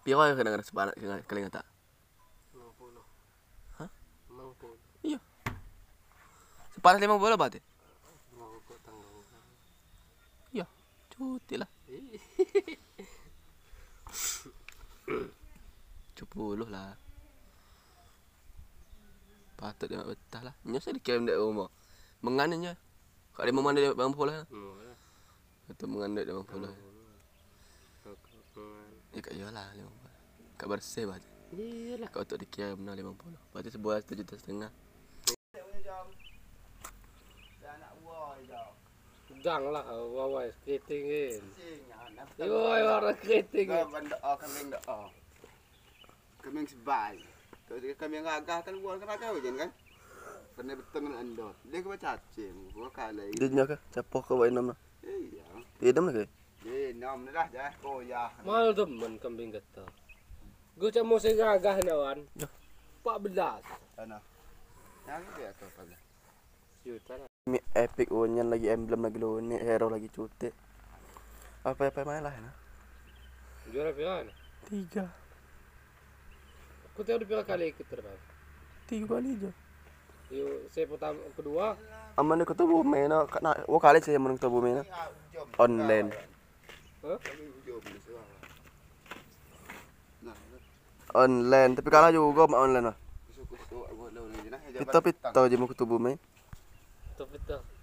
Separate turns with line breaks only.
Pira yang kena kena sebanyak kena kena tak?
50.
Ha?
50.
Ya. Sepanas lima bola batik.
Dua rokok tanggung.
Ya. Cuti lah.
Eh,
Sepuluh lah. Patut dia nak betah lah. Nyasa dia kirim dekat rumah. Menganan je. Kat dia memandai dia bangun pola.
no lah.
Kata mengandai dia bangun pola.
Rokok pengan.
Dia kat Yola lima bola. Kat Bersih batik.
Yelah.
Kau tak dikira benar lima lah puluh. Lepas tu sebuah satu juta setengah.
Gang lah wawai skating kan. Woi orang skating kan.
Kau doa kambing doa. Kambing sebai. Kau jika kambing agah kan buang kan agah hujan kan. Pernah betul dengan anda. Dia kau baca cim. Kau kalai.
nyak capoh kau buat nama.
Iya.
Dia dam ke?
Dia nom ni dah dah. Kau ya.
Mal demen kambing kata. Gue cak mau segagah nawan.
Ya.
14
Tanah. Yang dia kau pada.
juta lah.
Mi epic onyan lagi emblem lagi lo ni hero lagi cuti. Apa apa main lah nah.
Juara piran.
Tiga.
Aku tahu dia kali ikut terbang.
Tiga kali je.
Yo, saya pertama kedua
Aman kau tu main nak nak wo kali saya menung tu main online.
Kambing hujung ni seorang. Nah,
Online tapi kalah juga mak online lah.
kusuk-kusuk aku lalu ni nah.
Pita pita je muka tu main.
tapi tak.